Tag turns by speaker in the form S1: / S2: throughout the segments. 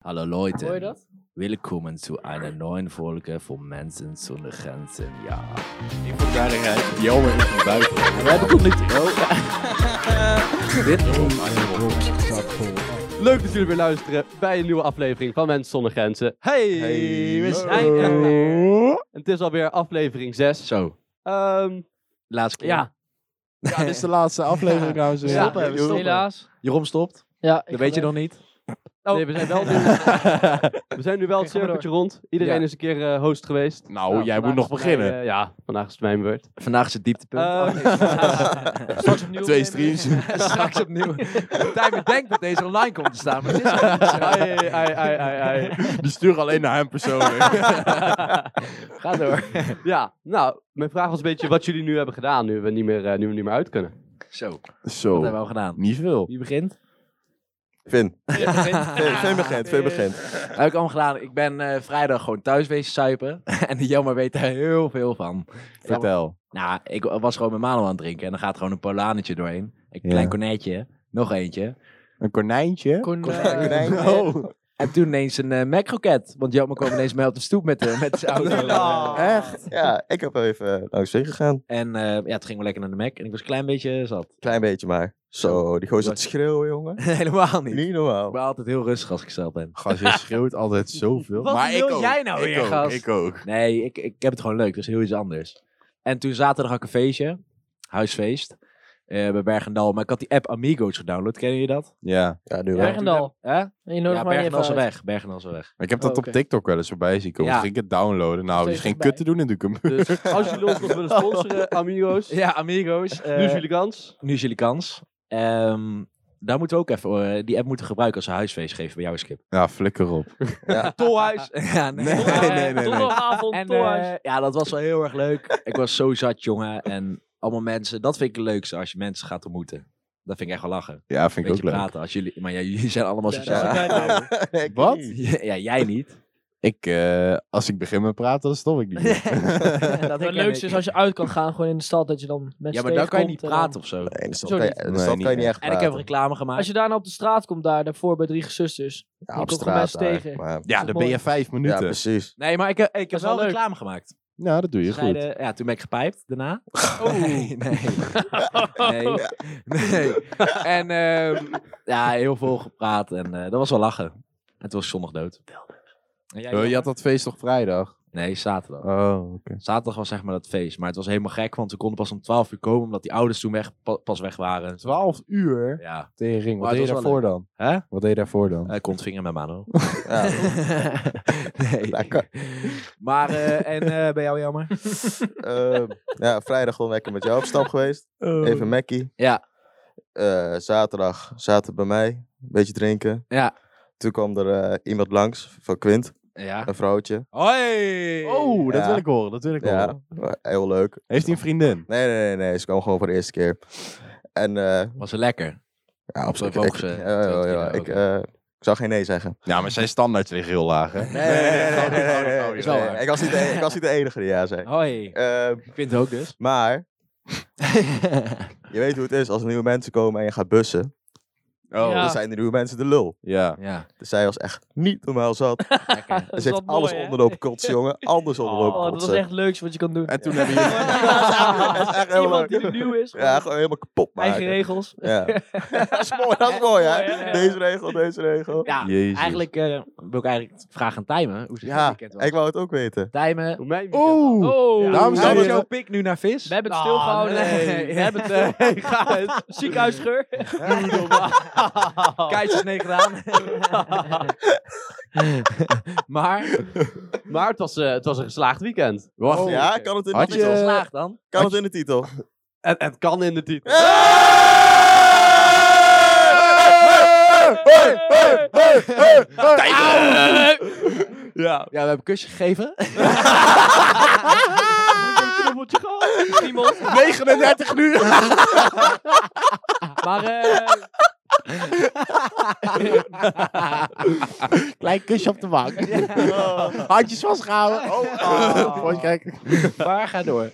S1: Hallo Leute,
S2: Hoor je dat?
S1: willkommen zu einer neuen Folge von Mensen zonder Grenzen. Ja.
S3: Ik moet daarin uit. Jammer is een buik.
S1: We hebben toch niet. Oh. Dit
S2: Leuk dat jullie weer luisteren bij een nieuwe aflevering van Mensen Zonder Grenzen. Hey, we
S1: Oh.
S2: zijn er weer. En Het is alweer aflevering Ehm, 6.
S1: Zo, laatst. keer.
S2: ja,
S3: Ja, dit is de laatste aflevering trouwens. weer.
S2: Stoppen,
S3: Jeroen-
S2: we stoppen.
S4: Helaas.
S3: Jeroen stopt.
S4: Ja,
S3: Dat weet je nog niet.
S2: Oh. Nee, we zijn wel nu, we zijn nu wel het
S4: Ga maar
S2: cirkeltje rond. Iedereen
S3: Ja.
S2: is een keer eh, host geweest.
S3: Nou,
S4: Nou,
S3: jij moet
S4: vandaag
S3: nog
S4: is het
S3: beginnen.
S2: Eh, ja, vandaag is het mijn beurt. Ehm,
S1: Vandaag is het dieptepunt.
S2: Oh,
S4: Straks opnieuw.
S3: Twee
S4: opnemen.
S3: streams.
S1: Straks opnieuw. De tijd denkt dat deze online komt te staan, maar het is nog niet zo.
S2: Ai, ai, ai, ai, ai.
S3: Die sturen alleen naar hem persoonlijk.
S1: Ga door.
S2: Ja, nou, mijn vraag was een beetje wat jullie nu hebben gedaan, nu we niet meer, eh, nu we niet meer uit kunnen.
S1: Zo, wat
S3: Zo.
S1: hebben we al gedaan?
S3: Niet veel.
S1: Wie begint?
S3: Vin.
S4: Begint.
S3: Vin begint. Vin begint.
S1: Dat heb ik allemaal gedaan. Ik ben eh, vrijdag gewoon thuis wezen suipen. en die jammer weet daar heel veel van.
S3: Vertel.
S1: Nou, ik was gewoon met Mano aan het drinken. En dan gaat gewoon een polanetje doorheen. Een
S3: Ja.
S1: klein konijntje. Nog eentje.
S3: Een konijntje?
S4: Kon, eh,
S3: Oh.
S1: En toen ineens een eh macroket. Want Jammer kwam ineens mee op de stoep met, eh, met zijn auto.
S5: Echt? Ja, ik heb even naar zee gegaan.
S1: En eh, ja, het ging wel lekker naar de Mac. En ik was een klein beetje zat.
S5: Klein beetje maar. Zo, die gozer aan het schreeuwen, jongen.
S1: Helemaal niet.
S5: Niet
S1: Ik
S5: normaal.
S1: ben altijd heel rustig als ik zelf ben.
S3: Gast, je schreeuwt altijd zoveel.
S1: Wat
S3: maar ik
S1: wil
S3: ook.
S1: jij nou
S3: ik
S1: weer,
S3: ook,
S1: gast?
S3: Ik ook.
S1: Nee, ik, ik heb het gewoon leuk. Dat is heel iets anders. En toen zaterdag had ik een feestje. Huisfeest. eh, bij Bergendal. Maar ik had die app Amigos gedownload. Kennen jullie dat?
S3: Ja.
S5: Ja, nu
S1: Ja.
S5: wel.
S4: Bergendal.
S1: Hè?
S4: Je
S1: Ja,
S4: nodigt maar even
S1: Bergendal is al
S4: uit.
S1: weg. Bergendal is al weg.
S3: Ik heb
S4: Oh,
S3: dat op
S4: oké.
S3: TikTok wel eens voorbij zien komen.
S1: Ja.
S3: Ging ik het downloaden. Nou, die is
S4: Steeds
S3: geen
S4: voorbij.
S3: kut te doen in Dukum.
S2: Dus als jullie ons nog willen sponsoren, amigos,
S1: Ja, Amigos.
S2: nu
S1: eh,
S2: is jullie kans.
S1: nu is jullie kans. Ehm, daar moeten we ook even eh, die app moeten gebruiken als we huisfeest geven bij jou, Skip.
S3: Ja, flikker op.
S2: Tolhuis.
S1: ja, nee.
S3: Nee.
S4: Eh,
S3: nee.
S4: Donderdagavond,
S1: En
S4: Tolhuis.
S1: eh, ja, dat was wel heel erg leuk. ik was zo zat, jongen. En allemaal mensen. Dat vind ik het leukste als je mensen gaat ontmoeten. Dat vind ik echt wel lachen.
S3: Ja, vind ik
S1: Beetje
S3: ook leuk.
S1: praten. Als jullie, maar ja, jullie zijn allemaal
S4: Ja, dat
S1: sociaal.
S4: is ook bij mij.
S5: Nee, ik
S3: Wat?
S5: niet.
S1: Hmm. Ja, jij niet.
S3: Ik, eh, als ik begin met praten, dan stop ik niet. meer.
S1: dat
S4: Maar Het leukste is als je uit kan gaan, gewoon in de stad, dat je dan mensen
S1: Ja, maar dan kan je niet
S4: tegenkomt
S1: praten
S4: en dan-
S1: of zo.
S5: Nee, in de stad
S4: Zo
S5: kan je,
S4: niet.
S5: in de
S3: Nee,
S5: stad
S3: niet
S5: kan je niet
S3: echt.
S5: echt
S1: En ik
S5: praten.
S1: heb reclame gemaakt.
S4: Als je daarna op de straat komt, daar, daarvoor bij drie gezusters.
S5: ja,
S4: je
S5: op
S4: komt
S5: straat
S4: gewoon best
S5: daar,
S4: tegen.
S5: Maar,
S3: Ja, dan ben je vijf
S5: ja,
S3: minuten.
S5: precies.
S1: Nee, maar ik, heb- ik heb
S4: is wel
S1: wel
S4: leuk.
S1: reclame gemaakt.
S3: nou, dat doe je
S1: Ze
S3: goed.
S1: zeiden- ja, toen ben ik gepijpt daarna. Oh. Nee, nee. nee. nee. En ehm, ja, heel veel gepraat. En eh, dat was wel lachen. En toen was ik zondag dood. En jij,
S3: Oh, je
S1: Johan?
S3: had dat feest toch vrijdag?
S1: Nee, zaterdag.
S3: Oh, oké.
S1: Zaterdag was zeg maar dat feest. Maar het was helemaal gek, want we konden pas om 12 uur komen, omdat die ouders toen weg, pa- pas weg waren.
S3: Twaalf uur?
S1: Ja,
S3: Tering,
S1: Maar
S3: wat
S1: het
S3: deed je
S1: was
S3: daarvoor
S1: wel
S3: dan?
S1: hè?
S3: Wat deed je daarvoor dan?
S1: Eh kont vinger met mano.
S5: Ja.
S1: nee.
S5: Lekker.
S1: Maar, eh, en eh ben jou jammer?
S5: Ehm, ja, vrijdag gewoon lekker met jou op stap geweest. Even Mackie.
S1: Ja.
S5: Eh, zaterdag zaten bij mij. Een beetje drinken.
S1: Ja.
S5: Toen kwam er eh, iemand langs van Quint.
S1: Ja.
S5: Een vrouwtje.
S1: Hoi!
S3: Oh, dat
S5: Ja.
S3: wil ik horen, dat wil ik horen.
S5: Ja, heel leuk.
S3: Heeft hij een vriendin?
S5: Nee, nee, nee, nee. Ze kwam gewoon voor de eerste keer. En eh
S1: Was het lekker?
S5: ja, op
S1: Zo
S5: zich.
S1: hoog
S5: Ik,
S1: ze-
S5: ja, ja, ja, ja,
S1: oké.
S5: ik, eh, ik zou geen nee zeggen.
S3: Ja, maar zijn standaards liggen heel laag, hè?
S5: Nee, nee, nee, nee, nee, nee, nee,
S1: is
S5: nee,
S1: wel waar. Oh.
S5: Ik was niet de, e- ik was niet de enige die ja zei.
S1: Hoi.
S5: Eh,
S1: Ik vind het ook dus.
S5: maar je weet hoe het is als er nieuwe mensen komen en je gaat bussen.
S3: Oh,
S4: Ja.
S5: Dan zijn de nieuwe mensen de lul.
S3: ja.
S1: ja,
S5: Dus zij was echt niet normaal zat.
S1: lekker.
S5: Ze
S4: is wel
S5: heeft alles
S4: mooi, hè?
S5: onderloop kotsen, jongen. Alles onderloop
S4: Oh, dat is
S5: kotsen.
S4: echt het leukste wat je kan doen.
S3: En toen hebben jullie...
S5: dat is echt heel
S4: Iemand die
S5: leuk.
S4: er nieuw is,
S5: Ja,
S4: ja,
S5: gewoon helemaal kapot
S4: eigen
S5: maken.
S4: regels.
S5: Ja. dat is mooi, dat is mooi,
S4: Mooi, hè?
S5: hè? Deze regel, deze regel.
S1: Ja,
S3: Jezus.
S1: eigenlijk eh, wil ik eigenlijk vragen aan Tijmen. Hoe ze het
S5: Ja,
S1: weekend was.
S5: ik wou het ook weten.
S1: Tijmen.
S2: Hoe mijn weekend was.
S3: Oeh!
S4: Oh,
S2: Ja.
S3: Dames en
S1: Hoe is
S3: heren.
S1: jouw pik nu naar vis?
S4: we hebben het
S2: Ah,
S4: stilgehouden.
S1: nee.
S4: We hebben het eh, ga het. ziekenhuisgeur.
S1: Keitjes nee gedaan. maar,
S2: Maar het was, eh, het was een geslaagd weekend.
S3: Wacht,
S2: Oh.
S5: ja, kan het in de
S3: Had
S1: wat is
S5: titel?
S3: je-
S1: slaag dan?
S5: Kan het in de titel?
S2: En het kan in de titel. Ja.
S1: Ja, we hebben een kusje gegeven.
S2: Knoppeltje gehad. Simon.
S3: 39 uur!
S1: Maar eh,
S3: Klein kusje op de wang. Handjes vastgehouden. Oh, Voor je kijken.
S1: Maar ga door.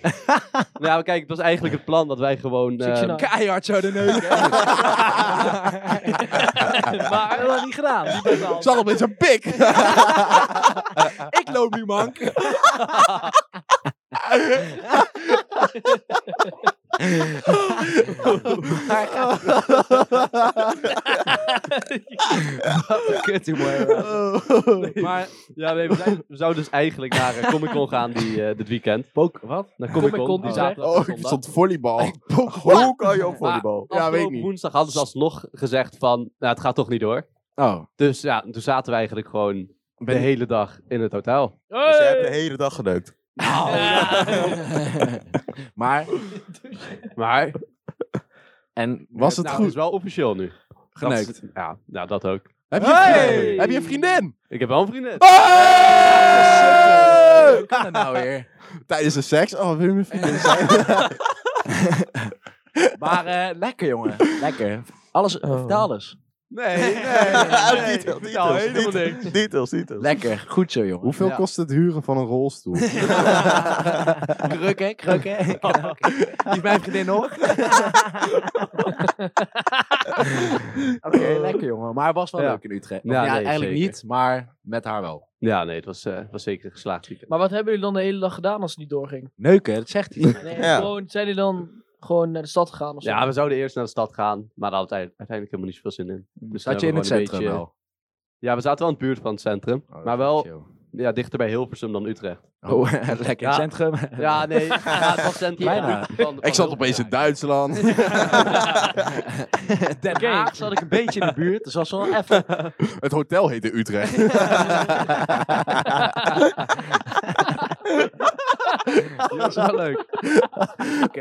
S2: Nou, ja, maar kijk, het was eigenlijk het plan dat wij gewoon... eh,
S4: Fictionaal.
S1: Keihard zo de neus.
S4: maar dat had ik niet gedaan. Die best wel.
S3: Zal hem in zijn pik.
S1: Ik loop nu, man. Kut humor.
S2: maar ja, nee, we, zijn- we zouden dus eigenlijk naar eh, Comic Con gaan die, eh, dit weekend.
S1: Pook, wat?
S2: Naar Comic Con,
S4: Comic-Con,
S2: die
S4: oh.
S2: zaterdag.
S3: Oh,
S2: en
S3: ik
S2: zondag.
S3: stond volleybal.
S5: Hoe kan je op volleybal?
S3: Ja, weet ik
S2: Afgelopen
S3: niet.
S2: woensdag hadden ze alsnog gezegd van, nou, het gaat toch niet door.
S1: Oh.
S2: Dus ja, toen zaten we eigenlijk gewoon de hele dag in het hotel.
S5: Dus je
S4: Hey!
S5: hebt de hele dag geneukt.
S1: Oh. maar,
S2: Maar
S1: en
S3: Was het
S2: nou,
S3: goed?
S2: het is wel officieel nu. Dat is-
S1: geneukt.
S2: ja, nou dat ook.
S3: Heb je, een vriendin? Heb je een vriendin?
S2: Ik heb wel een vriendin.
S1: Hey! Hoe kan dat nou weer?
S3: Tijdens de seks? Oh, wil je mijn vriendin?
S1: Maar eh, lekker, jongen. Lekker. Alles, vertel alles.
S2: Nee, nee,
S5: Nee,
S2: details,
S5: details, details,
S2: helemaal niks.
S5: details, details, details.
S1: Lekker. Goed zo, jongen.
S3: Hoeveel
S2: Ja.
S3: kost het huren van een rolstoel?
S1: Krukken, krukken.
S2: Oh,
S1: Die is mijn vriendin nog. Oké, lekker jongen. Maar het was wel
S2: Ja.
S1: leuk in Utrecht.
S2: Ja,
S1: Ja,
S2: nee,
S1: eigenlijk
S2: zeker.
S1: niet, maar met haar wel.
S2: Ja, nee, het was, eh, het was zeker een geslaagd weekend.
S4: Maar wat hebben jullie dan de hele dag gedaan als het niet doorging?
S1: Neuken, dat zegt hij.
S4: Nee,
S5: Ja.
S4: gewoon, zijn jullie dan gewoon naar de stad gegaan of zo?
S2: Ja, we zouden eerst naar de stad gaan, maar daar hadden we uiteindelijk helemaal niet zoveel zin in. Dus toen
S1: Zat je in
S2: hebben
S1: het
S2: we gewoon een
S1: centrum
S2: beetje-
S1: wel?
S2: Ja, we zaten wel in het buurt van het centrum,
S1: Oh, dat
S2: maar
S1: is
S2: wel
S1: chill.
S2: ja, dichter bij Hilversum dan Utrecht.
S1: Oh, lekker
S2: Ja.
S1: centrum.
S2: Ja, nee, ja, het was centrum.
S1: Bijna.
S2: van- van
S3: ik zat opeens
S2: Hilversum
S3: in
S2: eigenlijk.
S3: Duitsland.
S1: Den Haag zat ik een beetje in de buurt, dus was wel even.
S3: het hotel heette Utrecht.
S1: Dat was wel leuk. Oké.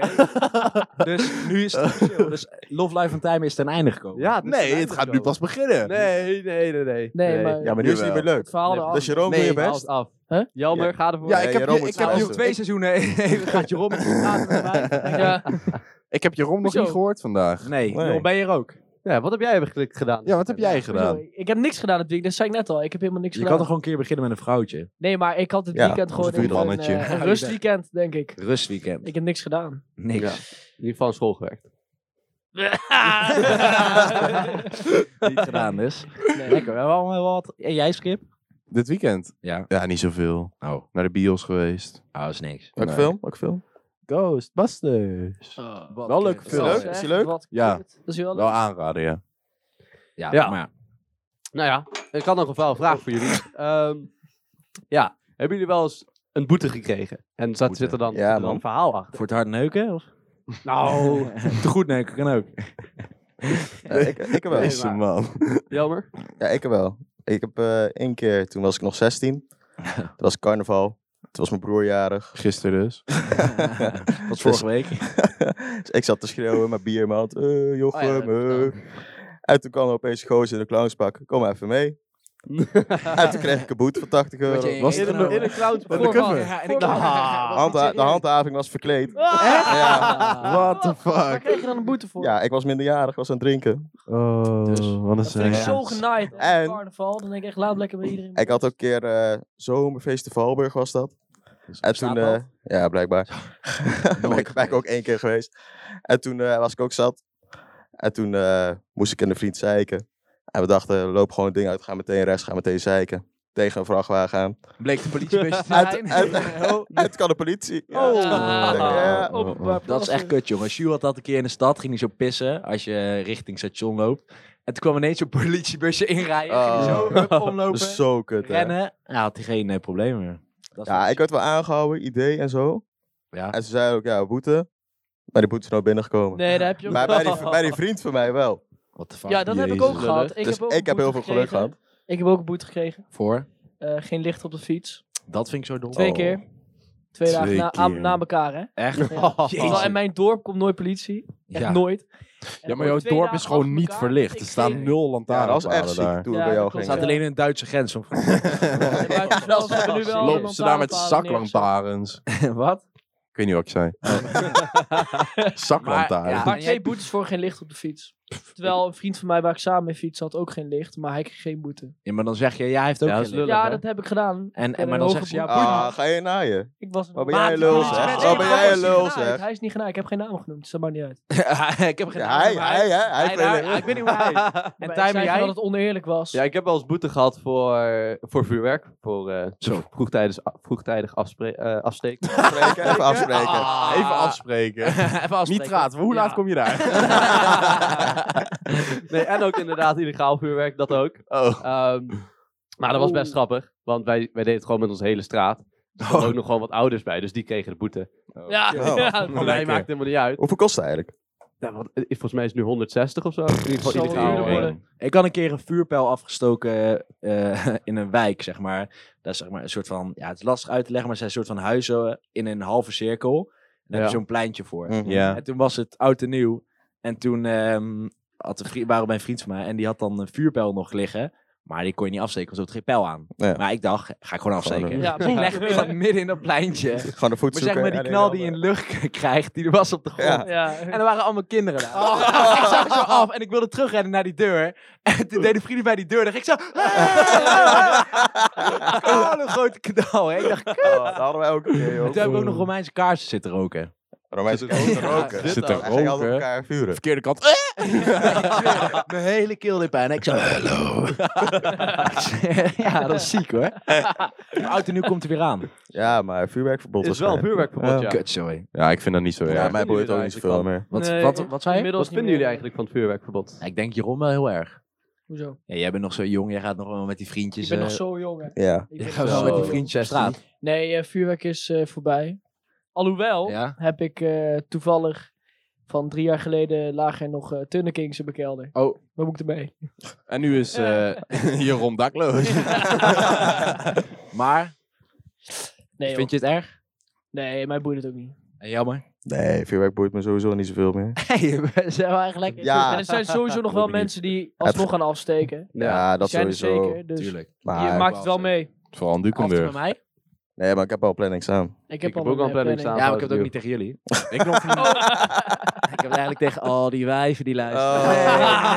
S1: Dus nu is het chill. Dus Love Life van Time is ten einde gekomen.
S2: Ja, is
S3: Nee, het
S2: ten einde
S3: gaat nu
S2: zo.
S3: pas beginnen.
S2: Nee, nee, nee, nee.
S4: Nee, maar
S5: Ja, maar nu is het niet meer leuk.
S4: het verhaal
S2: Nee,
S4: erachter.
S5: Dus Jeroen,
S2: Nee,
S5: doe je
S2: haal
S5: best.
S2: het af.
S4: Huh?
S2: Jammer, ga ervoor.
S3: Ja,
S5: Nee,
S3: ik heb,
S5: Jeroen
S3: je,
S5: moet
S3: ik, heb
S5: zelf
S1: Nu
S3: je,
S1: op twee seizoenen gaat Jeroen met praten met mij.
S4: Ja.
S3: ik heb Jeroen nog
S4: Hoezo?
S3: niet gehoord vandaag.
S1: Nee,
S5: Nee.
S1: Jeroen, ben je er ook?
S2: Ja, wat heb jij eigenlijk gedaan?
S3: Ja, wat heb jij gedaan?
S4: Hoezo? Ik heb niks gedaan dit weekend, dat zei ik net al. Ik heb helemaal niks
S1: Je kan
S4: gedaan.
S1: toch gewoon een keer beginnen met een vrouwtje?
S4: Nee, maar ik had het
S5: Ja,
S4: weekend gewoon
S3: een
S4: even een,
S3: voetballetje.
S4: eh, een rustweekend, denk ik.
S1: Rustweekend.
S4: Ik heb niks gedaan.
S1: Niks.
S2: Ja. In ieder geval aan school gewerkt.
S1: Ah. Niet gedaan dus. Lekker. We hebben allemaal wel wat. En jij, Skip?
S3: Dit weekend?
S1: Ja.
S3: Ja, niet zoveel.
S1: Oh, oh
S3: Naar de bios geweest.
S1: dat is niks.
S5: Welke
S3: Nee.
S5: film? Welke film?
S3: Ghostbusters. Wel leuk
S5: Is die
S3: film.
S5: leuk? Is die leuk?
S4: Wat
S3: Ja.
S4: kut. Dat is wel
S3: Wel
S4: leuk.
S3: aanraden, ja.
S1: Ja,
S2: Ja.
S1: maar
S2: Nou ja, ik had nog wel een vraag voor jullie. Ehm, ja, hebben jullie wel eens een boete gekregen? En zat,
S1: Boete.
S2: zit er dan,
S5: Ja,
S2: zit er dan
S5: man.
S2: een verhaal achter?
S1: voor het hard neuken? Of?
S2: Nou,
S1: Te goed neuken kan ook.
S5: Ja, ik, ik heb wel.
S3: Deze man.
S2: jammer.
S5: Ja, ik heb wel. Ik heb eh, één keer, toen was ik nog 16. Dat was carnaval. Toen was mijn broer jarig.
S3: Gisteren dus.
S1: Dat is vorige week.
S5: Dus ik zat te schreeuwen, mijn bier in mijn hand. Eh,
S4: Oh ja,
S5: Jochem,
S4: dat heb ik
S5: eh. En toen kwam er opeens een gozer in een clownspak. Kom maar even mee. En toen kreeg ik een boete van 80 euro.
S1: je-
S3: Was
S1: In
S3: het
S1: een- in
S3: een...
S1: een
S2: clown
S3: de cover.
S1: Ja, en ik Ah.
S5: Handha- de handhaving was verkleed.
S4: Ah!
S3: What the
S4: Waar
S3: fuck?
S4: kreeg je dan een boete voor?
S5: Ja, ik was minderjarig, was aan het drinken.
S3: Oh, wat een
S4: Dus, Dat vind ik
S3: zeg.
S4: zo genaaid. hè,
S5: En-
S4: Carnaval, dan denk ik echt laat lekker bij iedereen.
S5: Ik had ook een keer eh zomerfeest in Valburg was dat. En toen, eh, ja, blijkbaar. ben, ik, ben ik ook één keer geweest. En toen eh, was ik ook zat. En toen eh, moest ik in een vriend zeiken. En we dachten, loop gewoon het ding uit, ga meteen rechts, ga meteen zeiken. Tegen een vrachtwagen aan.
S1: Bleek de politiebusje te
S5: En,
S1: zijn.
S5: en, en het kan de politie. Ja.
S4: Oh.
S5: Ja.
S4: Openbaar
S1: Dat is echt
S4: plaatsen.
S1: kut, jongen. Sjoerd had dat een keer in de stad, ging hij zo pissen als je richting station loopt. En toen kwam ineens zo'n politiebusje inrijden, ging hij zo
S5: Oh.
S1: hup,
S5: Dat
S1: omlopen,
S5: is zo kut, hè.
S1: rennen. Ja, had hij geen eh, problemen meer. Dat is
S5: Ja,
S1: wel-
S5: ik werd wel aangehouden, idee en zo.
S1: Ja.
S5: En ze zeiden ook, ja, boete. Maar die boete is nou binnengekomen.
S4: Nee, daar heb je ook
S5: Maar bij die, bij die vriend van mij wel.
S1: What the fuck?
S4: Ja, dat heb ik
S3: Jezus.
S4: ook gehad. Ik
S5: dus
S4: heb ook
S5: ik
S4: een
S5: heb heel
S4: boete
S5: veel geluk
S4: gekregen.
S5: gehad.
S4: Ik heb ook een boete gekregen.
S1: Voor?
S4: Eh, geen licht op de fiets.
S1: Dat vind ik zo dom.
S4: Twee
S5: Oh.
S4: keer. Twee,
S3: Twee
S4: dagen na,
S3: keer.
S4: aan- na elkaar, hè?
S1: Echt?
S4: Ja.
S5: Oh,
S4: Terwijl in mijn dorp komt nooit politie. Echt
S1: Ja.
S4: nooit.
S3: Ja, maar jouw dorp is gewoon niet verlicht. Er staan nul
S5: Ja, dat was echt
S3: lantaarnpalen
S5: ziek
S3: daar.
S5: toen we
S4: Ja,
S5: bij jou
S4: dat klopt.
S1: Er
S5: ging.
S1: staat alleen een Duitse grens. Zo-
S4: Dat is nu wel
S3: Lopen ze daar met zaklantaarns.
S1: Wat?
S3: Ik weet niet wat ik zei.
S1: Maar,
S3: zaklantaarns.
S1: ja.
S4: Maar twee boetes voor geen licht op de fiets. Terwijl een vriend van mij waar ik samen mee fiets had ook geen licht, maar hij kreeg geen boete.
S1: Ja, maar dan zeg je, ja, hij heeft ook
S2: Ja,
S1: geen
S2: dat is
S1: licht.
S2: Lullig,
S4: ja,
S2: hè?
S4: dat heb ik gedaan.
S1: En, en,
S4: een
S1: maar dan
S4: hoge
S1: zegt ze, ja,
S4: boete.
S1: boeien.
S5: Ah, ga je naaien?
S4: Ik was
S5: Wat ben jij een lul, zeg?
S4: Wat
S5: Wat ben jij een lul, zeg?
S4: Hij is niet genaaid. Ik heb geen naam genoemd. dus Dat maakt niet uit.
S1: ik heb geen
S5: Ja, hij,
S1: maar
S5: hij, hè? Hij
S1: hij-
S5: heeft
S1: hij-
S5: een-
S1: ik weet niet hoe hij...
S4: En
S1: Tijmen, jij?
S4: dat het oneerlijk was.
S2: Ja, ik heb wel eens boete gehad voor, eh, voor vuurwerk. Voor eh,
S1: Zo.
S2: vroegtijdig, vroegtijdig afspre- eh, afsteken.
S5: afspreken. Even afspreken.
S1: Ah.
S5: Even afspreken.
S1: Even afspreken.
S3: Nitraat, hoe laat kom je daar?
S2: nee, en ook inderdaad illegaal vuurwerk, dat ook.
S5: Oh.
S2: Ehm, maar dat was
S4: Oeh. Oh.
S2: best grappig, want wij, wij deden het gewoon met onze hele straat. Er stonden ook nog gewoon wat ouders bij, dus die kregen de boete.
S4: Ja,
S5: Oh.
S4: ja.
S2: Maar mij
S5: Lekker.
S2: maakt het helemaal niet uit.
S5: Hoeveel kost het eigenlijk?
S2: Ja, want, eh, volgens mij is het nu 160 of zo. In ieder geval
S4: Zal wel
S2: illegaal.
S4: duurder worden.
S1: Ik had een keer een vuurpijl afgestoken eh, in een wijk, zeg maar. Dat is zeg maar een soort van, ja, het is lastig uit te leggen, maar het zijn een soort van huizen in een halve cirkel. En daar heb
S2: Ja.
S1: je zo'n pleintje voor.
S5: Mhm,
S3: Ja.
S1: En toen was het oud en nieuw. En toen ehm had een vriend, waren bij een vriend van mij en die had dan een vuurpijl nog liggen. Maar die kon je niet afsteken, want er zat geen pijl aan.
S5: Ja.
S1: Maar ik dacht, ga ik gewoon afsteken.
S5: Gewoon
S4: Ja,
S1: Dus ik leg hem in- midden in dat pleintje.
S5: Gewoon een voet
S1: Maar zeg
S5: zoeken.
S1: maar, die
S5: en
S1: knal die je in de lucht krijgt, die er was op de grond.
S5: eh. Ja.
S4: Ja.
S1: En er waren allemaal kinderen daar.
S4: Oh.
S1: Ik zag zo af en ik wilde terugrennen naar die deur. En toen deden vrienden bij die deur. Dan ging ik zo... Oh, een grote knal. Hè. Ik dacht, kut.
S5: Oh, dat hadden wij ook een keer,
S1: En
S5: joh.
S1: toen heb ik ook nog Romeinse kaarsen zitten roken.
S5: Romein zit ook te roken.
S2: Zit
S5: Hij
S2: te
S5: ging altijd
S1: roken.
S5: op elkaar vuren.
S1: Verkeerde kant. Eh! Ik zweer, Mijn hele keel in pijn. En Ik zo, hello. ja, dat is ziek hoor. Maar oud en nieuw komt er weer aan.
S5: Ja, maar vuurwerkverbod
S2: is wel een
S5: waarschijnlijk.
S2: vuurwerkverbod, ja.
S1: Kut, sorry.
S6: Ja, ik vind dat niet zo
S5: Ja,
S6: erg.
S5: mij boeit het ook niet zoveel meer.
S1: Wat,
S4: Nee,
S1: wat, wat zei je?
S4: inmiddels
S2: Wat
S4: niet
S2: vinden jullie
S4: meer.
S2: eigenlijk van het vuurwerkbod?
S1: Ja, Ik denk Jeroen wel heel erg.
S4: Hoezo?
S1: Ja, jij bent nog zo jong. Jij gaat nog wel met die vriendjes...
S4: Ik ben nog
S1: eh,
S4: zo jong, hè.
S5: Ja.
S4: Ik
S1: jij
S4: ben
S1: gaat
S4: nog
S1: wel
S4: zo
S1: met die
S4: jong.
S1: vriendjes op straat.
S4: Nee, eh, vuurwerk is eh, voorbij. Alhoewel
S1: Ja?
S4: heb ik eh, toevallig van drie jaar geleden lagen er nog eh Turner Kings in mijn kelder.
S6: Oh.
S4: Wat moet ik ermee?
S6: En nu is eh Jeroen dakloos.
S1: Maar,
S4: Nee, joh.
S1: vind je het erg?
S4: nee, mij boeit het ook niet.
S1: En Jammer.
S5: Nee, vuurwerk boeit me sowieso niet zoveel meer.
S1: Hey, we zijn wel eigenlijk lekker.
S5: Ja.
S4: En er zijn sowieso nog wel mensen die alsnog gaan afsteken.
S5: Ja, dat
S4: zijn er
S5: sowieso.
S4: zeker. Dus
S1: Tuurlijk.
S4: je
S5: Maar,
S4: maakt het wel mee.
S6: Vooral
S1: Af en toe bij
S6: Dukenburg.
S1: mij?
S5: nee, maar ik heb al planning samen.
S4: Ik heb,
S2: heb
S4: al eh,
S2: ook al een planning staan.
S1: Ja, maar ik heb het ook niet tegen jullie. ik nog niet. Ik heb het eigenlijk tegen al die wijven die luisteren.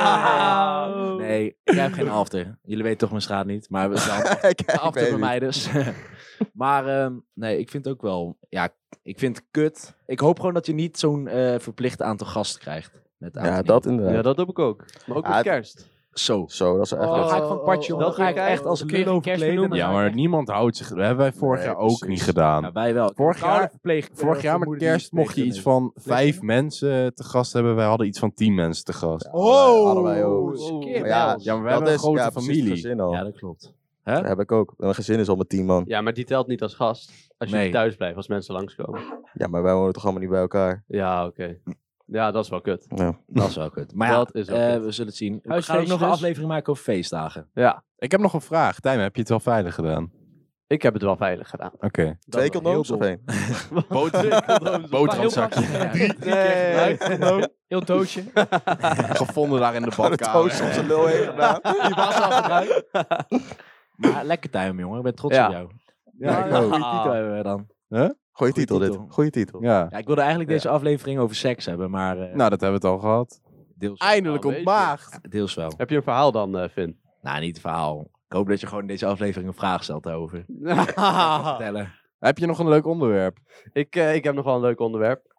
S4: Oh.
S1: Nee. Nee, ik heb geen after. Jullie weten toch mijn straat niet, maar we zijn
S5: Kijk, ik
S1: after
S5: weet
S1: bij
S5: niet.
S1: mij dus. maar ehm, nee, ik vind het ook wel... Ja, ik vind het kut. Ik hoop gewoon dat je niet zo'n eh, verplicht aantal gasten krijgt. Met oud en
S5: Ja,
S1: nieuw.
S5: dat inderdaad.
S2: Ja, dat heb ik ook. Maar ook
S5: Ah,
S2: met
S5: het-
S2: kerst.
S1: Zo.
S5: Zo, dat is echt...
S1: Dan ga ik van partje om.
S2: oh,
S1: Dan ga ik
S2: oh,
S1: echt als
S4: oh, kun je
S1: lul
S4: geen kerst
S1: verkleden.
S4: benoemen?
S6: Ja, maar niemand houdt zich... Dat hebben wij vorig
S5: Nee,
S6: jaar ook
S5: precies.
S6: niet gedaan.
S1: Ja, wij wel.
S6: Vorig jaar-
S1: verpleeg,
S6: vorig jaar met kerst mocht je iets van vijf mensen te gast hebben. Wij hadden iets van tien mensen te gast.
S5: Ja, allebei- allebei ook.
S4: Keer
S5: Maar ja,
S4: wel.
S6: Ja, maar we
S5: dat
S6: hebben een
S5: is-
S6: grote
S5: ja, precies,
S6: familie.
S5: gezin al.
S1: Ja, dat klopt.
S5: Dat heb ik ook. Mijn gezin is al met tien man.
S2: Ja, maar die telt niet als gast. Als je
S1: Nee.
S2: thuis blijft, als mensen langskomen.
S5: Ja, maar wij wonen toch allemaal niet bij elkaar.
S2: Ja, oké. Ja, dat is wel kut.
S1: Dat is wel kut. Maar ja,
S2: Dat is wel
S1: eh,
S2: kut.
S1: we zullen het zien. We gaan ook
S4: Huisfeestjes.
S1: nog een aflevering maken over feestdagen.
S6: Ik heb nog een vraag. Tijmen, heb je het wel veilig gedaan?
S2: Ik heb het wel veilig gedaan.
S6: Oké.
S2: Dat
S5: Twee
S2: wel.
S5: condooms of één?
S6: Boterhamzakje.
S4: Drie Heel doosje.
S6: Gevonden daar in de
S5: Had het toos
S6: badkamer.
S5: om zijn lul heen gedaan.
S1: Die was al gebruikt. maar lekker tuin, jongen. Ik ben trots
S2: Ja.
S1: op jou.
S6: Ja,
S1: ik
S6: ik
S1: ook.
S6: ook.
S1: Goeie titel hebben we dan.
S5: Goeie
S1: Goeie
S5: titel dit.
S1: titel.
S5: Goeie titel.
S6: Ja.
S1: Ja, ik wilde eigenlijk deze aflevering over seks hebben, maar eh,
S6: Nou, dat hebben we het al gehad.
S1: deels,
S6: Eindelijk
S2: Een beetje.
S6: ontmaagd.
S1: deels wel.
S2: Heb je een verhaal dan, eh, Finn?
S1: Nou, niet het verhaal. Ik hoop dat je gewoon in deze aflevering een vraag stelt over.
S4: Ah.
S1: Vertellen.
S6: Heb je nog een leuk onderwerp?
S2: ik, eh, ik heb nog wel een leuk onderwerp.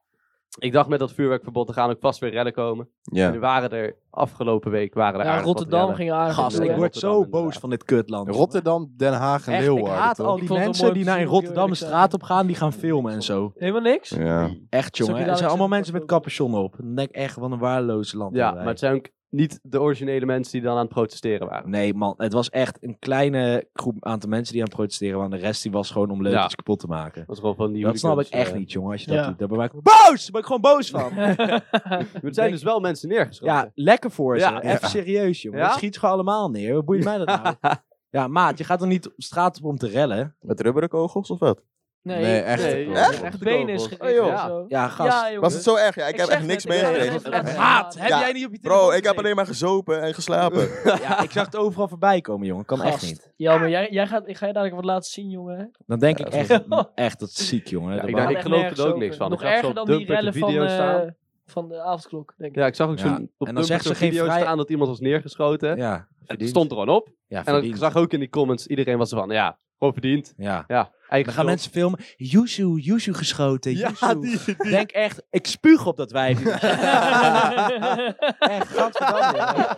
S2: Ik dacht met dat vuurwerkverbod, er gaan ook vast weer rellen komen.
S6: Ja.
S2: Nu waren er afgelopen week waren er
S4: Ja,
S2: aardig wat
S4: Rotterdam
S2: rellen.
S4: ging aardig
S1: Gast,
S4: naartoe,
S1: ik
S4: hè.
S1: word
S2: Rotterdam,
S1: zo boos
S2: inderdaad.
S1: van dit kutland. jongen.
S6: Rotterdam, Den Haag en
S1: Echt, ik
S6: Leeuwarden.
S1: haat al
S6: toch?
S1: die
S4: vond het
S1: mensen
S4: mooi
S1: die naar in
S4: om te zien,
S1: Rotterdam de
S4: eerlijk
S1: straat op gaan, die gaan filmen en zo.
S4: Helemaal niks?
S6: Ja.
S1: Echt,
S4: Zou ik
S1: jongen.
S4: je
S1: Er zijn
S4: dadelijk
S1: allemaal
S4: zeggen,
S1: mensen met
S4: dat ook-
S1: capuchon op. Dan denk ik echt, wat een waardeloos land.
S2: Ja,
S1: hebben
S2: maar
S1: wij.
S2: het zijn ook niet de originele mensen die dan aan het protesteren waren.
S1: Nee, man. Het was echt een kleine groep aantal mensen die aan het protesteren waren. De rest die was gewoon om leuk
S2: Ja.
S1: iets kapot te maken.
S2: Dat was gewoon van die
S1: dat snap ik
S2: hooligans,
S1: echt
S2: eh.
S1: niet, jongen. Als je dat
S4: ja.
S1: doet, daar ben ik boos! Daar ben ik gewoon boos van.
S2: Maar Er zijn dus wel mensen
S1: ja,
S2: neergeschoten.
S1: lekker voor ze.
S2: Ja.
S1: Even serieus, jongen.
S2: Ja?
S1: Het Schiet ze gewoon allemaal neer. Wat boeit mij dat nou? ja, maat, je gaat er niet op straat op om te rellen.
S5: Met rubberen kogels of wat?
S4: Nee,
S6: Nee, echt.
S2: Nee,
S6: Echt?
S4: echt?
S2: Echt
S4: benen is
S2: kogels.
S4: gericht.
S2: Oh, joh.
S4: en zo.
S1: Ja, gast.
S4: jongen.
S5: Was het zo erg? Ja, ik
S4: Ik
S5: heb
S4: zeg
S5: echt niks
S4: net, ik heb
S5: meegekregen.
S4: echt net- Ja.
S1: Maat, heb
S5: Ja.
S1: jij niet op je telefoon
S5: Bro, ik heb
S1: gekeken?
S5: alleen maar gezopen en geslapen.
S1: Ja, ik zag het overal voorbij komen, jongen. Kan echt
S4: Gast.
S1: niet.
S4: Jammer, jij, jij gaat, ik ga je dadelijk wat laten zien, jongen.
S1: Dan denk ik
S5: Ja,
S1: echt, echt, dat is ziek, jongen.
S2: Ja,
S1: Dat
S2: ik
S1: maakt-
S4: Gaat
S2: denk- ik
S4: echt
S2: geloof er
S4: nergens
S2: ook
S4: over.
S2: niks van.
S4: Nog
S2: Ik had
S4: erger
S2: zo'n
S4: dan die
S2: dumpert
S4: rellen van,
S2: video
S4: eh,
S2: staan.
S4: van de avondklok, denk ik.
S2: Ja, ik zag ook
S1: Ja.
S2: zo'n
S1: En
S2: op
S1: dan
S2: Tumblr
S1: zegt ze
S2: zo'n
S1: geen
S2: video
S1: vrij-
S2: staan dat iemand was neergeschoten.
S1: Ja,
S2: het
S1: verdiend.
S2: stond er gewoon op.
S1: Ja,
S2: En ik
S1: verdiend.
S2: zag ook in die comments, iedereen was van, ja, gewoon verdiend.
S1: Ja.
S2: Ja, eigen
S1: Dan gaan
S2: schuld.
S1: mensen filmen. Yuzu, Yuzu geschoten.
S2: Ja,
S1: Yuzu.
S2: die, die.
S1: Denk echt, ik spuug op dat wijf. echt, gadverdamme. ja.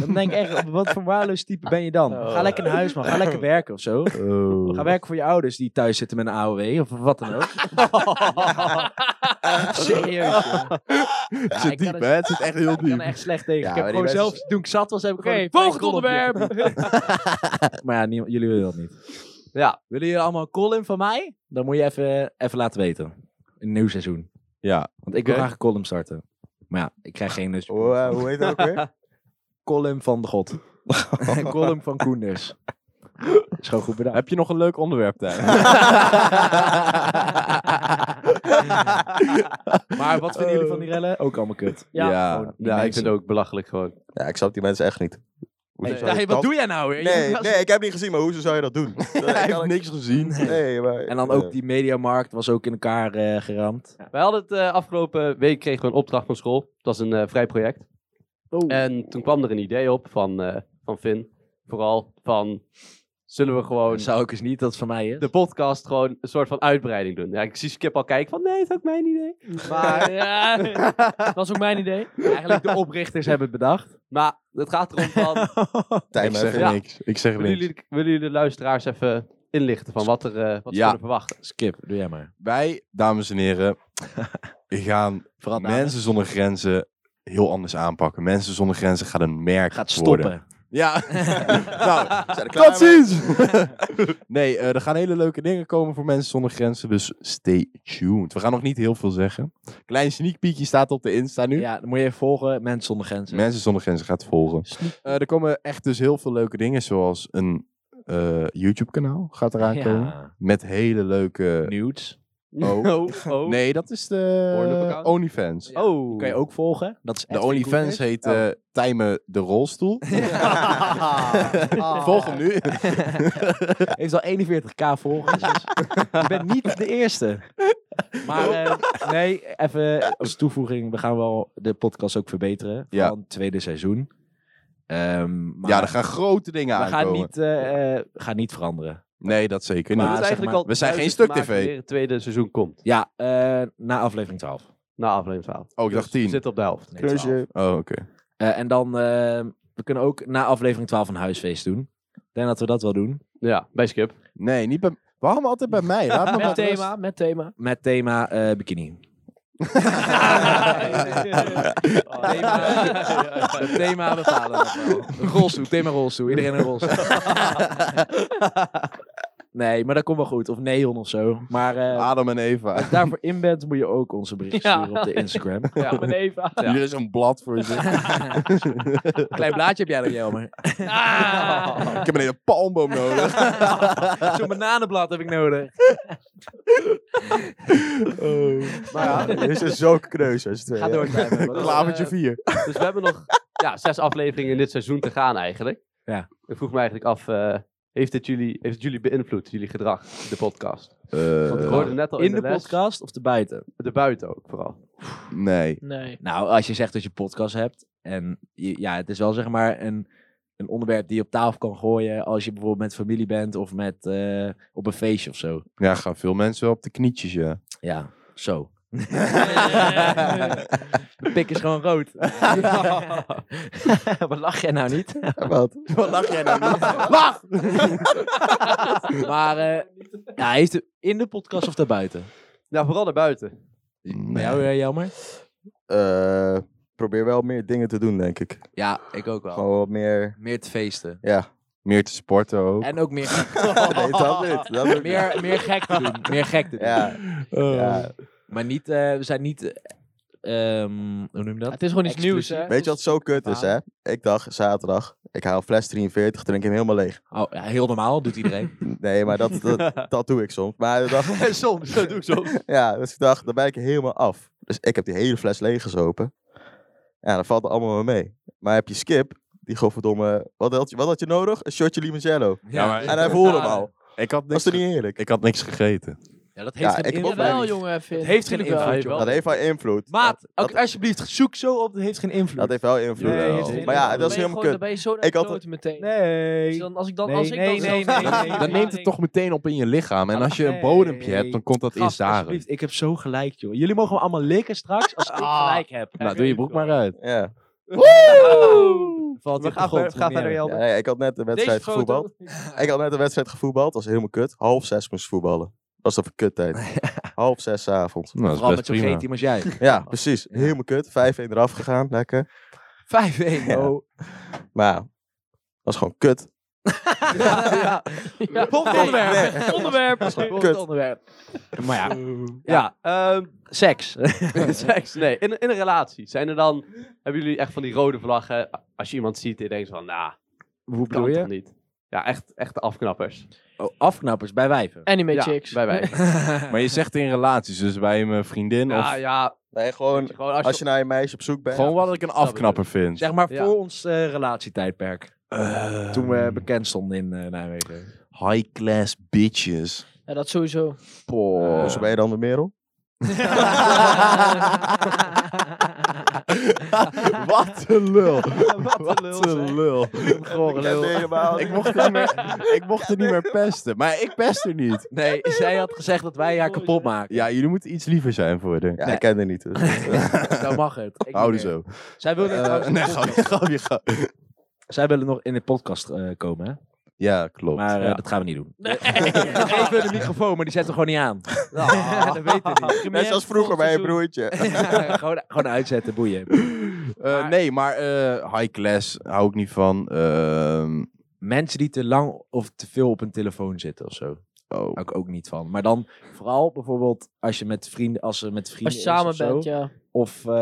S1: Dan denk ik echt, wat voor waarloos type ben je dan?
S2: Oh.
S1: Ga lekker naar huis, man. Ga lekker werken of zo.
S6: Oh.
S1: Ga werken voor je ouders die thuis zitten met een AOW of wat dan ook. Serieus. joh.
S6: het
S1: ik
S6: zit
S1: kan
S6: diep,
S1: het-
S6: hè? Het zit echt heel
S1: Ik kan
S6: diep.
S1: er echt slecht tegen.
S5: Ja,
S1: ik heb
S5: maar die
S1: gewoon
S5: mensen-
S1: zelf, toen ik zat was, heb ik
S4: Oké,
S1: gewoon een
S4: volgend
S1: column
S4: onderwerp.
S1: opgezet. Maar ja, nie- jullie willen dat niet.
S2: Ja.
S1: Willen jullie allemaal een column van mij? Dan moet je even, even laten weten. Een nieuw seizoen.
S6: Ja.
S1: Want ik wil
S2: Oké.
S1: graag een column starten. Maar ja, ik krijg geen... Dus
S5: Hoe, eh, hoe heet dat ook weer?
S1: column van de god. column van Koenders. Is gewoon goed bedacht.
S6: Heb je nog een leuk onderwerp, Tijn?
S1: Maar wat vinden jullie van die rellen? Ook allemaal kut.
S4: Ja.
S6: ja.
S2: Ja, ik vind het ook belachelijk gewoon.
S5: Ja, ik snap die mensen echt niet. Hoezo zou je
S1: Hey,
S5: dat-
S1: wat doe jij nou weer?
S5: Nee, nee, ik heb niet gezien, maar hoezo zou je dat doen?
S6: Hij heeft niks gezien.
S5: Nee, maar...
S1: En dan
S5: eh,
S1: ook die mediamarkt was ook in elkaar eh, geramd.
S2: Wij hadden het eh, afgelopen week kregen we een opdracht van school. Het was een eh, vrij project.
S4: Oh.
S2: En toen kwam er een idee op van, eh van Finn. Vooral van, zullen we gewoon
S1: Zou ik eens niet dat het van mij is?
S2: de podcast gewoon een soort van uitbreiding doen? Ja, ik zie Skip al kijken van, nee, dat is ook mijn idee.
S4: Maar ja, dat was ook mijn idee.
S1: Eigenlijk de oprichters hebben het bedacht.
S2: Maar het gaat erom van,
S5: Tijn,
S6: Ik
S5: maar
S6: zeg
S5: even-
S2: Ja.
S6: niks. Ik zeg
S2: willen
S6: niks.
S2: jullie, willen jullie de luisteraars even inlichten van wat, er, eh, wat ze
S6: Ja.
S2: kunnen verwachten?
S1: Skip, doe jij maar.
S6: Wij, dames en heren, gaan
S1: Vooral mensen
S6: Mensen zonder grenzen heel anders aanpakken. Mensen zonder grenzen gaat een merk
S1: gaat
S6: worden.
S1: stoppen.
S6: Ja. nou,
S5: Zijn er klaar
S6: dat
S5: mee?
S6: ziens! nee, eh, er gaan hele leuke dingen komen voor Mensen Zonder Grenzen, dus stay tuned. We gaan nog niet heel veel zeggen. Klein sneak peekje staat op de Insta nu.
S1: Ja, dan moet je even volgen. Mensen zonder grenzen.
S6: Mensen Zonder Grenzen gaat volgen. Eh, er komen echt dus heel veel leuke dingen, zoals een eh, YouTube-kanaal gaat eraan komen.
S1: ja.
S6: Met hele leuke...
S1: Nudes.
S6: Oh.
S2: oh.
S6: Nee, dat is de
S2: Pornhub-account?
S6: OnlyFans.
S2: Oh.
S1: Kun je ook volgen. Dat is
S6: De OnlyFans heet eh Tijmen de Rolstoel. Volg hem nu.
S1: Heeft al 41k volgers. dus je bent niet de eerste.
S6: Oh.
S1: Maar eh, nee, even als toevoeging. We gaan wel de podcast ook verbeteren.
S6: Ja.
S1: Van het tweede seizoen. Ehm, maar
S6: ja, er gaan grote dingen
S1: we gaan
S6: aankomen.
S1: niet, eh, eh, gaan niet veranderen.
S6: Nee, dat zeker
S1: Maar
S6: niet.
S2: We moeten
S1: zeg
S2: eigenlijk
S1: maar,
S2: al
S6: we zijn geen
S2: duidelijk maken
S6: stuk TV.
S2: wanneer het tweede seizoen komt.
S1: Ja, eh, na aflevering 12.
S2: Na aflevering 12.
S6: Oh, ik dacht
S2: Dus we
S6: 10.
S2: zitten op de helft.
S1: Nee, 12.
S5: Kneusje.
S6: Oh, oké.
S1: Eh, en dan, eh, we kunnen ook na aflevering 12 een huisfeest doen. Ik denk dat we dat wel doen.
S2: Ja, bij Skip.
S6: Nee, niet bij... Waarom altijd bij mij? Laat me
S4: Met
S6: met
S4: thema, met thema.
S1: Met thema eh, bikini.
S4: Ah,
S1: Het thema bepalen we nog wel. Een Rolstoel, thema rolstoel. Iedereen een rolstoel. nee, maar dat komt wel goed. Of neon of zo. Maar eh,
S6: Adam en Eva.
S1: als je daarvoor in bent, moet je ook onze bericht
S4: Ja.
S1: sturen op de Instagram.
S4: Ja, met Eva.
S2: Ja.
S6: Hier is een blad voor je.
S1: Klein blaadje heb jij dan, Jelmer.
S4: Ah.
S6: ik heb een hele palmboom nodig.
S1: Zo'n bananenblad heb ik nodig.
S5: Maar ja, dit is zo kneus.
S1: Ga door, Tijmen. Wat-
S6: Klavertje 4.
S2: Dus we hebben nog ja, zes afleveringen in dit seizoen te gaan eigenlijk.
S1: Ja.
S2: Ik vroeg me eigenlijk af, eh, heeft, dit jullie, heeft het jullie beïnvloed, jullie gedrag, de podcast?
S6: eh,
S2: Want ik hoorde net al in,
S1: Eh, In de
S2: les,
S1: podcast of de buiten?
S2: de buiten ook vooral.
S6: nee.
S4: Nee.
S1: Nou, als je zegt dat je podcast hebt. En je- ja, het is wel zeg maar een, een onderwerp die je op tafel kan gooien. Als je bijvoorbeeld met familie bent of met, eh, op een feestje of zo.
S6: Ja, gaan veel mensen wel op de knietjes, ja.
S1: Ja, zo. De pik is gewoon rood. Wat lach jij nou niet?
S5: Wat?
S6: Wat lach jij nou niet? Lach!
S1: Maar eh ja, heeft het in de podcast of daarbuiten?
S2: Ja, vooral de buiten.
S1: Bij jou, eh, jammer.
S5: Eh, probeer wel meer dingen te doen, denk ik.
S1: Ja, ik ook wel.
S5: Gewoon wat meer...
S1: Meer te feesten.
S5: Ja.
S6: Meer te sporten ook.
S1: En ook meer,
S2: Oh.
S5: Nee, dat niet. Dat niet.
S1: meer, meer gek te doen. Meer gek te doen.
S5: Ja. ja.
S1: Maar niet, eh, we zijn niet... eh, ehm, hoe noem je dat?
S4: Het is gewoon iets nieuws, hè?
S5: Weet je wat zo kut is, hè? Ik dacht zaterdag, ik haal fles 43, drink hem helemaal leeg.
S1: Oh, ja, heel normaal, doet iedereen.
S5: Nee, maar dat, dat, dat doe ik soms. Maar ik dacht,
S2: soms, dat doe ik soms.
S5: ja, dus ik dacht, dan ben ik er helemaal af. Dus ik heb die hele fles leeggezopen. Ja, dat valt er allemaal wel mee. Maar heb je Skip, die godverdomme... Wat had je, wat had je nodig? Een shotje limoncello.
S6: Ja, maar-
S5: En hij voelde hem al.
S6: Ik had
S5: Dat is
S6: niks,
S5: toch niet eerlijk?
S6: ik had niks gegeten.
S1: Ja, dat heeft
S5: Ja,
S1: geen
S5: ik heb ook
S1: invloed.
S5: wel
S4: Jawel, jongen, Finn.
S1: Het heeft geen
S4: Tuurlijk wel.
S1: invloed,
S2: Ja,
S1: joh.
S5: Dat heeft wel invloed.
S1: Maat,
S5: dat-
S1: ook alsjeblieft, zoek zo op. Het heeft geen invloed.
S5: Dat heeft wel invloed.
S1: Nee,
S5: wel.
S1: heeft geen
S5: maar ja,
S1: invloed.
S5: dat is
S4: Dan ben je gewoon-
S5: helemaal kut.
S4: Dan ben je zo naar
S5: Ik
S4: ik
S5: had
S4: had meteen.
S1: nee.
S4: Dus dan, als ik dan,
S1: Nee,
S4: als ik
S1: nee,
S4: dan
S1: nee,
S4: zelf-
S1: nee, nee, nee.
S6: Dan neemt het toch meteen op in je lichaam. En als je een
S1: Nee.
S6: bodempje hebt, dan komt dat in
S1: Gast,
S6: zaren.
S1: alsjeblieft, ik heb zo gelijk, joh. Jullie mogen me allemaal likken straks als ik gelijk heb.
S6: Nou, doe je broek maar uit.
S5: Ja.
S1: Valt
S2: We
S1: hij op
S2: gaan
S1: de grond,
S2: ver- gaan verder,
S1: meneer.
S5: Ja,
S2: Jelmer.
S5: nee, ik had net een wedstrijd
S1: foto.
S5: gevoetbald. Ik had net een wedstrijd gevoetbald. Dat was helemaal kut. Half zes moest ik voetballen. Dat was dan een tijd. Half zes 's avonds.
S6: Nou, dat is
S1: Vooral
S6: best
S1: met zo'n
S6: prima.
S1: greet team als jij. 5-1,
S5: Ja, precies. Helemaal kut. 5-1 eraf gegaan. Lekker.
S1: oh.
S5: Maar ja, dat was gewoon kut.
S1: Ja.
S4: onderwerp. onderwerp.
S5: Kut.
S1: onderwerp. Maar ja,
S2: Ja, ehm,
S1: seks.
S2: seks. Nee, in, in een relatie. Zijn er dan, hebben jullie echt van die rode vlaggen? Als je iemand ziet, die denkt van, nou,
S1: Hoe
S2: kan
S1: bedoel je?
S2: toch niet? Ja, echt, echt de afknappers.
S1: Oh, afknappers bij wijven.
S4: Anime
S2: ja,
S4: chicks.
S2: Bij wij.
S6: Maar je zegt in relaties, dus bij mijn vriendin
S2: ja,
S6: of...
S2: ja.
S5: Nee,
S2: weet
S5: gewoon
S2: je, Gewoon als,
S5: als
S2: je...
S5: je naar je meisje op zoek bent.
S6: Gewoon wat ik een
S2: snap ik
S6: afknapper vind.
S1: Zeg maar
S2: Ja.
S1: voor ons eh, relatietijdperk.
S6: Ehm,
S1: Toen we bekend stonden in eh, Nijmegen.
S6: High class bitches.
S4: Ja, dat sowieso.
S5: Poh.
S6: Eh.
S5: Zo Oh. Dus ben je dan de merel?
S6: Wat een lul.
S2: Wat een lul,
S6: lul.
S1: Gore
S5: Ik ken
S1: lul.
S5: helemaal
S6: Ik
S5: niet.
S6: mocht, er niet meer, ik mocht er niet meer pesten. Maar ik pest er niet.
S1: Nee, zij had gezegd dat wij haar kapot maken.
S6: Ja, jullie moeten iets liever zijn voor de.
S5: Ja, ik ken er niet. dus.
S1: Nou mag het. Ik
S6: Houden
S1: niet meer.
S6: zo.
S1: Zij wilde,
S6: Eh,
S1: trouwens-
S6: nee, grapje, grapje, grapje.
S1: zij willen nog in de podcast eh, komen, hè?
S6: Ja, klopt.
S1: Maar eh,
S6: Ja.
S1: dat gaan we niet doen. Geef hun de microfoon, maar die zetten we gewoon niet aan.
S6: Ah.
S1: dat weet ik niet.
S5: Net zoals vroeger bij je broertje.
S1: gewoon, gewoon uitzetten, boeien.
S6: Eh, nee, maar eh, high class hou ik niet van. Ehm,
S1: Mensen die te lang of te veel op hun telefoon zitten of zo.
S6: oh.
S1: Hou ik ook niet van. Maar dan vooral bijvoorbeeld als je met vrienden, als ze met vrienden
S4: Als je
S1: is
S4: samen
S1: of zo.
S4: bent, ja.
S1: Of, eh,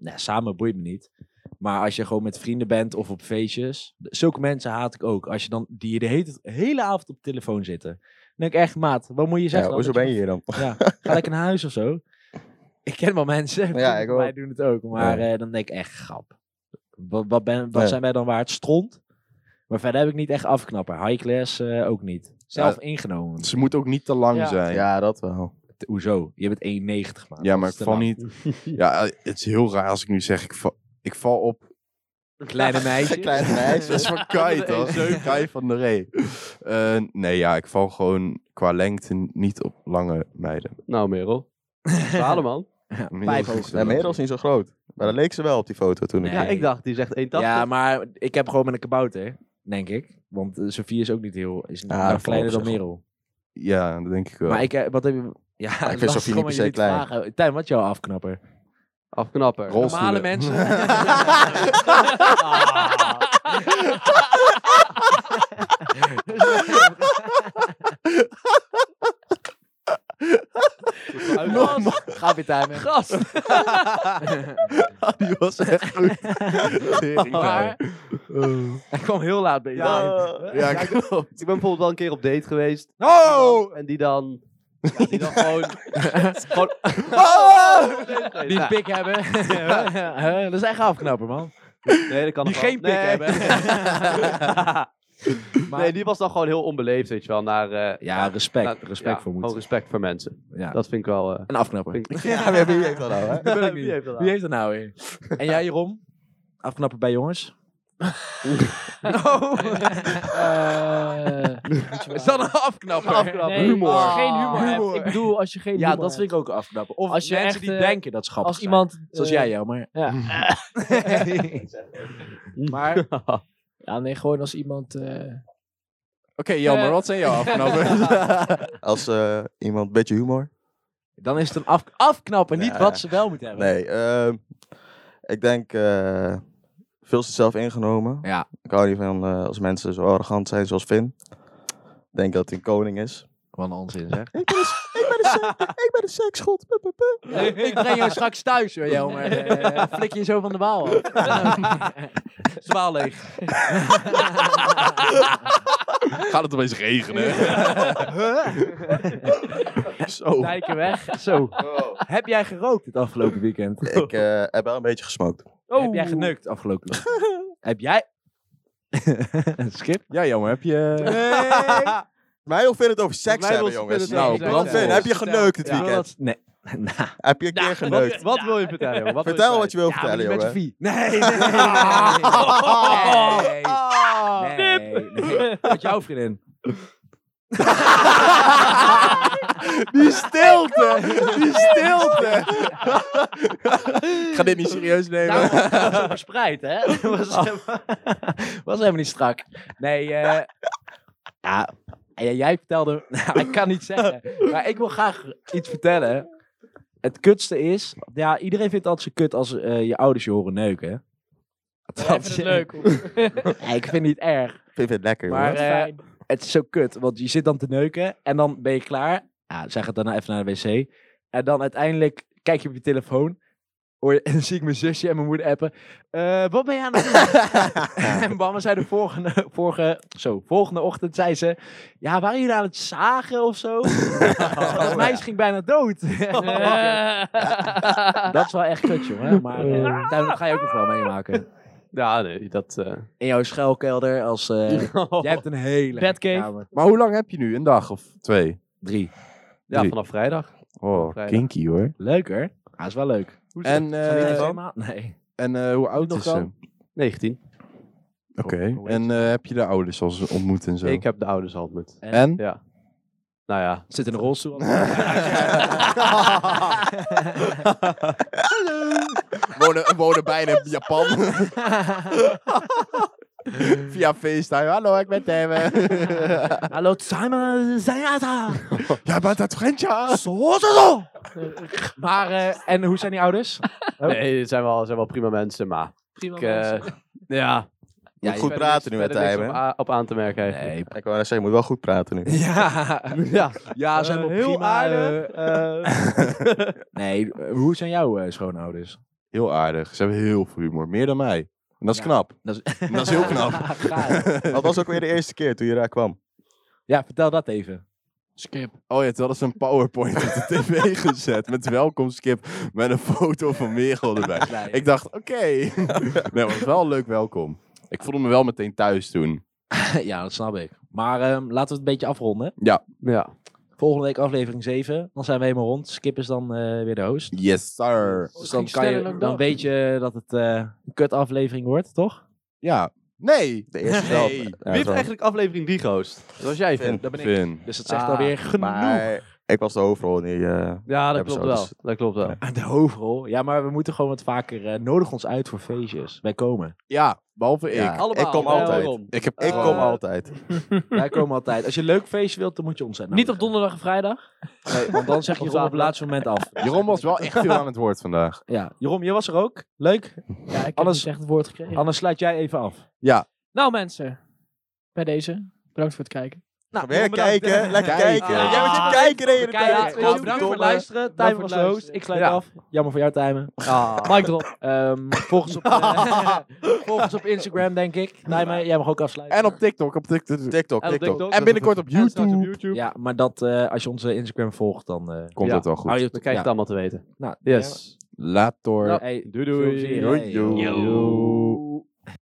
S1: nou, samen boeit me niet. Maar als je gewoon met vrienden bent of op feestjes. Zulke mensen haat ik ook. Als je dan, die de hele, hele avond op de telefoon zitten. Dan denk ik echt, maat, wat moet je
S5: Ja,
S1: zeggen? dan?
S5: hoezo
S1: Dat
S5: ben je hier dan?
S1: Ja, ga lekker naar huis of zo. Ik ken wel mensen.
S5: Ja, ik ook.
S1: Wij doen het ook. Maar eh, dan denk ik echt, grap. Wat, wat, ben, wat
S5: Ja.
S1: zijn wij dan waard? Stront. Maar verder heb ik niet echt afknapper. High class eh, ook niet. Zelf ingenomen. Dus
S6: Ze moet ook niet te lang
S4: Ja.
S6: zijn. Ja,
S5: Ja, dat wel.
S1: T- Hoezo? Je bent 1,90 man.
S6: maar ik val niet. Ja, eh, het is heel raar als ik nu zeg ik val, ik val op.
S1: Kleine meisje.
S5: Kleine
S6: Dat is
S5: meisjes.
S6: van Kai,
S2: de
S6: toch? Kai van de Ree. Eh, nee, ja, ik val gewoon qua lengte niet op lange meiden.
S2: Nou, Merel. Zalen, man.
S1: Pijphoogte.
S5: Nee, Merel is niet zo groot. Maar dat leek ze wel op die foto toen ik...
S1: Nee.
S2: Ja, ik dacht, die zegt 1,80.
S1: Ja, maar ik heb gewoon met een kabouter, denk ik. Want eh, Sofie is ook niet heel... Is
S5: dat
S1: nou
S5: valt
S1: kleiner
S5: op
S1: dan
S5: zich wel.
S1: Merel.
S6: Ja, dat denk ik wel.
S1: Maar ik, eh, wat heb je... Ja,
S5: vind
S1: lastig om
S5: Sofie niet
S1: aan
S5: per se
S1: jullie te
S5: klein.
S1: vragen. Tijn, wat is jouw afknapper?
S2: Afknapper.
S6: Rol-
S1: Normale
S6: Rolstoelen.
S1: mensen. Ga weer timen.
S4: Gast!
S6: die was echt goed. Tering,
S1: Maar-
S6: Kai.
S1: Hij kwam heel laat bij je.
S5: Ja.
S6: Ja, klopt.
S2: Ik ben bijvoorbeeld wel een keer op date geweest.
S6: Oh!
S2: En die dan... Ja, die dan gewoon... gewoon
S6: Ah!
S1: Die een pik hebben. Huh? dat is echt een afknapper, man.
S2: Nee, dat kan
S1: Die
S2: nog wel.
S1: geen pik
S2: Nee.
S1: hebben. Maar-
S2: Nee, die was dan gewoon heel onbeleefd, weet je wel. Naar, eh,
S1: ja, respect.
S2: naar-
S1: respect
S2: ja,
S1: voor
S2: Gewoon
S1: moeten.
S2: respect voor mensen.
S1: Ja.
S2: Dat vind ik wel... eh,
S1: Een afknapper.
S2: vind ik-
S5: Ja, wie wie heeft dat nou, hè?
S1: Dat wil ik
S2: Wie
S1: niet.
S2: heeft dat
S1: Wie heeft er nou in? En jij, Jeroen? Afknapper bij jongens?
S4: Nou, Eh,
S1: Is dat een afknapper?
S4: nee,
S6: Humor.
S4: als je geen humor,
S1: Humor.
S4: hebt. Ik bedoel, als je geen
S1: Ja,
S4: humor
S1: dat vind ik ook een afknapper. Of
S4: Als je
S1: mensen
S4: echt,
S1: die
S4: eh,
S1: denken dat ze grappig
S4: Als
S1: zijn.
S4: iemand...
S1: Zoals
S4: eh,
S1: jij, jammer.
S4: Ja.
S1: maar
S4: Ja, nee, gewoon als iemand... eh,
S6: Oké, jammer, wat zijn jouw afknappers?
S5: Als eh, iemand een beetje humor.
S1: dan is het een af afknapper, niet
S5: Ja.
S1: wat ze wel moeten hebben.
S5: Nee, ehm, ik denk eh, veel te zelf ingenomen.
S1: Ja.
S5: Ik hou niet van eh, als mensen zo arrogant zijn zoals Finn. Ik denk dat hij een koning is.
S1: Wat een onzin, zeg.
S5: Ik ben een seksgod. Pup, pup, pup.
S1: Eh, ik breng jou straks thuis, hoor, Jelmer. Eh, flik je zo van de baal af. Zwaal leeg.
S6: Gaat het opeens regenen? Zo.
S1: Dijken weg. Zo. Heb jij gerookt het afgelopen weekend?
S5: Ik eh, heb wel een beetje gesmokt.
S1: Heb jij geneukt afgelopen weekend? Heb jij... Skip?
S6: Ja, jammer, heb je...
S5: Mij wil Finn het over seks
S2: Mij wil
S5: hebben,
S2: Finn
S5: jongens.
S2: het
S5: Nou,
S2: over
S1: seks
S5: brand
S1: hebben.
S5: Finn, heb je geneukt dit
S2: Ja,
S5: weekend?
S1: Nee. Nou,
S5: Heb je een keer geneukt?
S2: Wat wil je vertellen? jongen? Wat wil je
S5: Vertel wat je
S2: vertellen?
S5: wil
S1: ja, niet
S5: vertellen,
S1: met je
S5: jongen.
S1: vie. Nee, nee, nee, nee, nee, nee. Nee, nee. Met jouw vriendin.
S6: Die stilte! Die stilte!
S5: Ik ga dit niet serieus nemen.
S1: Daarom was het zo verspreid, hè? Dat was, helemaal- was helemaal niet strak. Nee, eh ja, ja, jij vertelde... Nou, ik kan niet zeggen. Maar ik wil graag iets vertellen. Het kutste is... Ja, iedereen vindt het altijd zo kut als eh, je ouders je horen neuken.
S4: Ik vind het leuk. hoor.
S1: Nee, ik vind het niet erg.
S5: Ik vind het lekker,
S1: Maar
S5: jongen.
S1: eh,
S4: Fijn.
S1: het is zo kut, want je zit dan te neuken en dan ben je klaar. Ja, zij gaat daarna even naar de wc. En dan uiteindelijk kijk je op je telefoon. Hoor je, en dan zie ik mijn zusje en mijn moeder appen. Eh, wat ben je aan het doen? en mama zei de volgende, vorige, zo, volgende ochtend, zei ze... Ja, waren jullie aan het zagen of zo? Dat meisje ging bijna dood. Dat is wel echt kut, jongen. Maar eh, daar ga je ook nog wel meemaken.
S2: Ja, nee, dat... eh,
S1: In jouw schuilkelder als... eh, jij hebt een hele...
S4: Batcave.
S1: kamer.
S6: Maar hoe lang heb je nu? Een dag of twee?
S1: Drie.
S2: ja, vanaf vrijdag.
S6: Oh,
S2: Vrijdag.
S6: kinky hoor.
S1: Leuker. Hij is wel leuk.
S6: En, eh,
S1: Niet
S5: dan?
S1: helemaal? Nee.
S6: en eh, hoe oud
S1: Nog
S6: is ze?
S1: dan?
S6: Oké.
S2: 19.
S5: Hoe- hoe heet
S6: En eh, heb je de ouders al eens ontmoet en zo?
S2: Ik heb de ouders al ontmoet.
S6: En?
S2: Ja. Nou ja.
S1: Zit in een rolstoel.
S6: wonen, wonen bijna in Japan. Via FaceTime. Hallo, ik ben Tim.
S1: Hallo, Simon Zayata.
S6: Jij bent uit Frencha.
S1: Zo, zo, zo. Maar, eh, en hoe zijn die ouders?
S5: Oh.
S2: Nee, het zijn wel, zijn wel prima mensen, maar...
S4: Prima
S2: Ik, eh,
S4: mensen.
S2: ja.
S1: Ja,
S5: Moet goed praten nu met
S2: Verder niks
S5: Tijmen.
S2: op, a- op aan te merken heeft.
S1: Nee.
S5: Ik wou net zeggen, je moet wel goed praten nu.
S1: Ja,
S2: Ja.
S1: ja zijn
S2: Eh,
S1: wel
S2: heel
S1: prima.
S2: aardig.
S1: eh, nee, eh, hoe zijn jouw eh, schoonouders?
S6: Heel aardig. Ze hebben heel veel humor. Meer dan mij. En dat is
S1: Ja.
S6: knap.
S1: Dat is,
S6: En dat is heel knap.
S1: Gaaf.
S5: Wat was ook weer de eerste keer toen je daar kwam?
S1: ja, vertel dat even.
S4: Skip.
S6: Oh ja, toen hadden ze een PowerPoint op de tv gezet. Met welkomskip. Met een foto van Merel erbij.
S1: Klein.
S6: Ik dacht, oké. Nee, maar wel een leuk welkom. Ik voelde me wel meteen thuis toen.
S1: ja, dat snap ik. Maar ehm, laten we het een beetje afronden.
S2: ja.
S1: Volgende week aflevering 7. Dan zijn we helemaal rond. Skip is dan eh, weer de host.
S6: Yes, sir.
S1: Dus
S4: Het
S1: dan,
S4: Oh, ging
S1: kan je,
S4: sneller dan
S1: dan,
S4: ik dacht.
S1: weet je dat het eh, een kut aflevering wordt, toch?
S6: Ja. Nee.
S5: De eerste
S6: Nee.
S5: zelf. Ja,
S2: Wie heeft
S5: zo.
S2: eigenlijk aflevering 3 gehost? Dat was jij,
S5: Finn.
S2: Finn.
S1: Dat ben ik.
S6: Finn.
S1: Dus dat zegt
S2: Ah,
S1: alweer genoeg
S5: Maar ik was de overal niet. eh,
S2: Ja, dat
S5: Hebben
S2: klopt
S5: ze
S2: wel.
S5: ouders.
S2: Dat klopt wel.
S1: aan de hoofdrol. Ja, maar we moeten gewoon wat vaker... eh, nodig ons uit voor feestjes. Wij komen.
S6: Ja, behalve
S5: Ja.
S6: ik. Eh,
S2: Allemaal.
S5: Ik kom
S2: wel
S5: altijd.
S2: rond.
S6: Ik heb
S5: ik kom
S6: al.
S5: altijd.
S1: Wij komen altijd. Als je een leuk feestje wilt, dan moet je ons uitnodigen.
S4: Niet op donderdag en vrijdag.
S1: Nee, want dan zeg je Jeroen op het laatste moment af.
S6: Jeroen was wel echt veel aan het woord vandaag.
S1: Ja. Jeroem, je was er ook. Leuk.
S4: Ja, ik heb
S1: Alles-
S4: niet echt het woord gekregen.
S1: Anders sluit jij even af.
S4: Nou mensen, bij deze. Bedankt voor het kijken.
S1: Nou,
S5: Weer kijken, lekker
S6: Kijk. eh,
S5: kijken.
S1: Ah.
S5: Jij bent je kijken de hele
S4: Kijk,
S5: tijd.
S4: ja,
S1: bedankt voor het luisteren.
S4: Bedankt
S1: Tijmen
S4: voor
S1: was
S4: het
S1: de host.
S4: luisteren.
S1: Ik sluit
S2: Ja.
S1: af. Jammer voor jou, Tijmen.
S2: Ah.
S4: Mic drop.
S1: Ehm volg, ons op, eh, volg ons op Instagram, denk ik. Tijmen, jij mag ook afsluiten.
S6: En op TikTok. Op TikTok.
S5: TikTok,
S2: En op
S5: TikTok.
S2: TikTok.
S6: En binnenkort op
S2: En straks op
S6: YouTube.
S2: YouTube.
S1: Ja, maar dat, eh, als je onze Instagram volgt, dan... eh
S6: Komt
S2: Ja.
S6: dat wel goed.
S1: hou je het-
S2: Dan krijg je het
S1: ja.
S2: allemaal te weten.
S1: Nou,
S2: Yes.
S6: Later.
S1: ja. Hey,
S2: Doei
S1: veel
S2: doei.
S1: plezier.
S6: Doei,
S1: Hey, joh.
S6: doei.